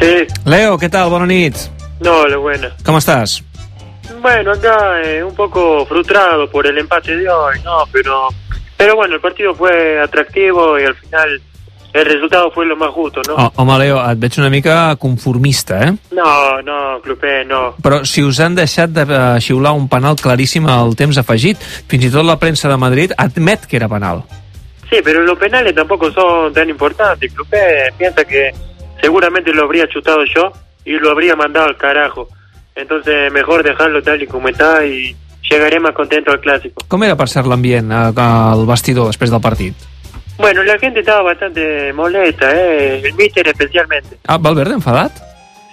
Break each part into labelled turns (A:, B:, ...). A: Sí,
B: Leo, què tal? Bona nit.
A: no, lo buena.
B: Com estàs?
A: Bueno, acá eh, un poco frustrado por el empate de hoy, ¿no? Pero, pero bueno, el partido fue atractivo y al final el resultado fue lo más justo, ¿no?
B: Oh, home, Leo, et veig una mica conformista, eh?
A: No, no, Clupé, no.
B: Però si us han deixat de eh, xiular un penal claríssim al temps afegit, fins i tot la premsa de Madrid admet que era penal.
A: Sí, pero los penales tampoco son tan importantes. Clupé piensa que seguramente lo habría chutado yo y lo habría mandado al carajo. Entonces, mejor dejarlo tal y como está y llegaré más contento al clásico.
B: Com era, per cert, l'ambient eh, al vestidor després del partit?
A: Bueno, la gente estaba bastante molesta, ¿eh? el míster especialmente.
B: Ah, Valverde enfadat?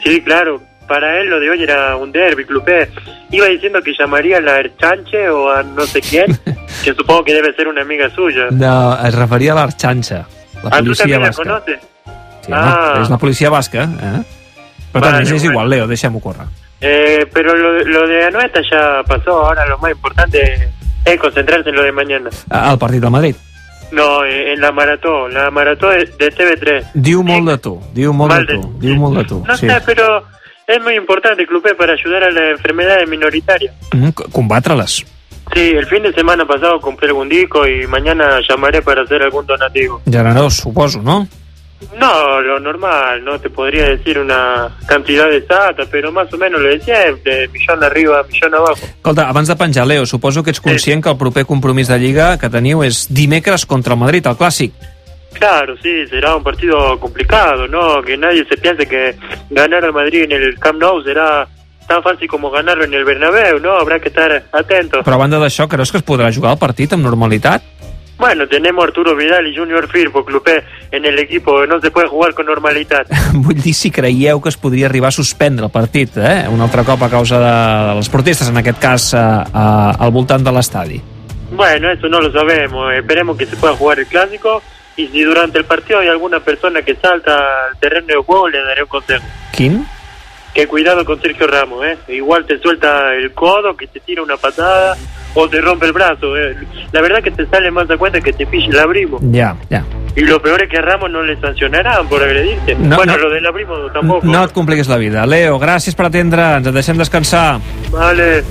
A: Sí, claro, para él lo de hoy era un derby, clubé. Iba diciendo que llamaría a la Erchanche o a no sé quién, que supongo que debe ser una amiga suya.
B: No, es referia a l'Arxanxa, la
A: ¿A tú
B: policia
A: también la
B: basca.
A: conoces?
B: Sí, ah.
A: Ah.
B: És la policia basca, eh? Però
A: Vale,
B: vale, és
A: bueno.
B: igual, Leo, deixem-ho córrer.
A: Eh, pero lo, lo de Anueta ya pasó, ahora lo más importante es concentrarse en lo de mañana.
B: Ah, El partit de Madrid.
A: No, eh, en la maratón, la maratón de de TV3.
B: Diu molt de tu, diu molt
A: Mal
B: de
A: de-
B: tu, diu molt de tu.
A: No
B: sí.
A: sé, pero es muy importante, clubé, para ayudar a las enfermedades minoritarias.
B: Mm, co- Combatre-les.
A: Sí, el fin de semana pasado compré algún disco y mañana llamaré para hacer algún donativo.
B: Generós, suposo, no?
A: No, lo normal, no te podría decir una cantidad exacta, pero más o menos lo de siempre, millón arriba, millón abajo.
B: Escolta, abans de penjar, Leo, suposo que ets conscient que el proper compromís de Lliga que teniu és dimecres contra el Madrid, el clàssic.
A: Claro, sí, será un partido complicado, ¿no? Que nadie se piense que ganar al Madrid en el Camp Nou será tan fácil como ganarlo en el Bernabéu, ¿no? Habrá que estar atentos.
B: Però a banda d'això, creus que es podrà jugar el partit amb normalitat?
A: Bueno, tenemos a Arturo Vidal y Junior Firpo, Clupé, en el equipo, no se puede jugar con normalidad.
B: Vull dir si creieu que es podria arribar a suspendre el partit, eh? Un altre cop a causa de, de les protestes, en aquest cas a, a, al voltant de l'estadi.
A: Bueno, eso no lo sabemos. Esperemos que se pueda jugar el clásico. Y si durante el partido hay alguna persona que salta al terreno de juego, le daré un consejo.
B: Quin?
A: Que cuidado con Sergio Ramos, ¿eh? Igual te suelta el codo, que te tira una patada o te rompe el brazo. ¿eh? La verdad que te sale más a cuenta que te pille el abrimo.
B: Ja, ja.
A: Y lo peor es que a Ramos no le sancionarán por agredirte.
B: No,
A: bueno,
B: no.
A: lo del abrimo tampoco.
B: No et compliquis la vida. Leo, gràcies per atendre'ns. Et deixem descansar.
A: Vale.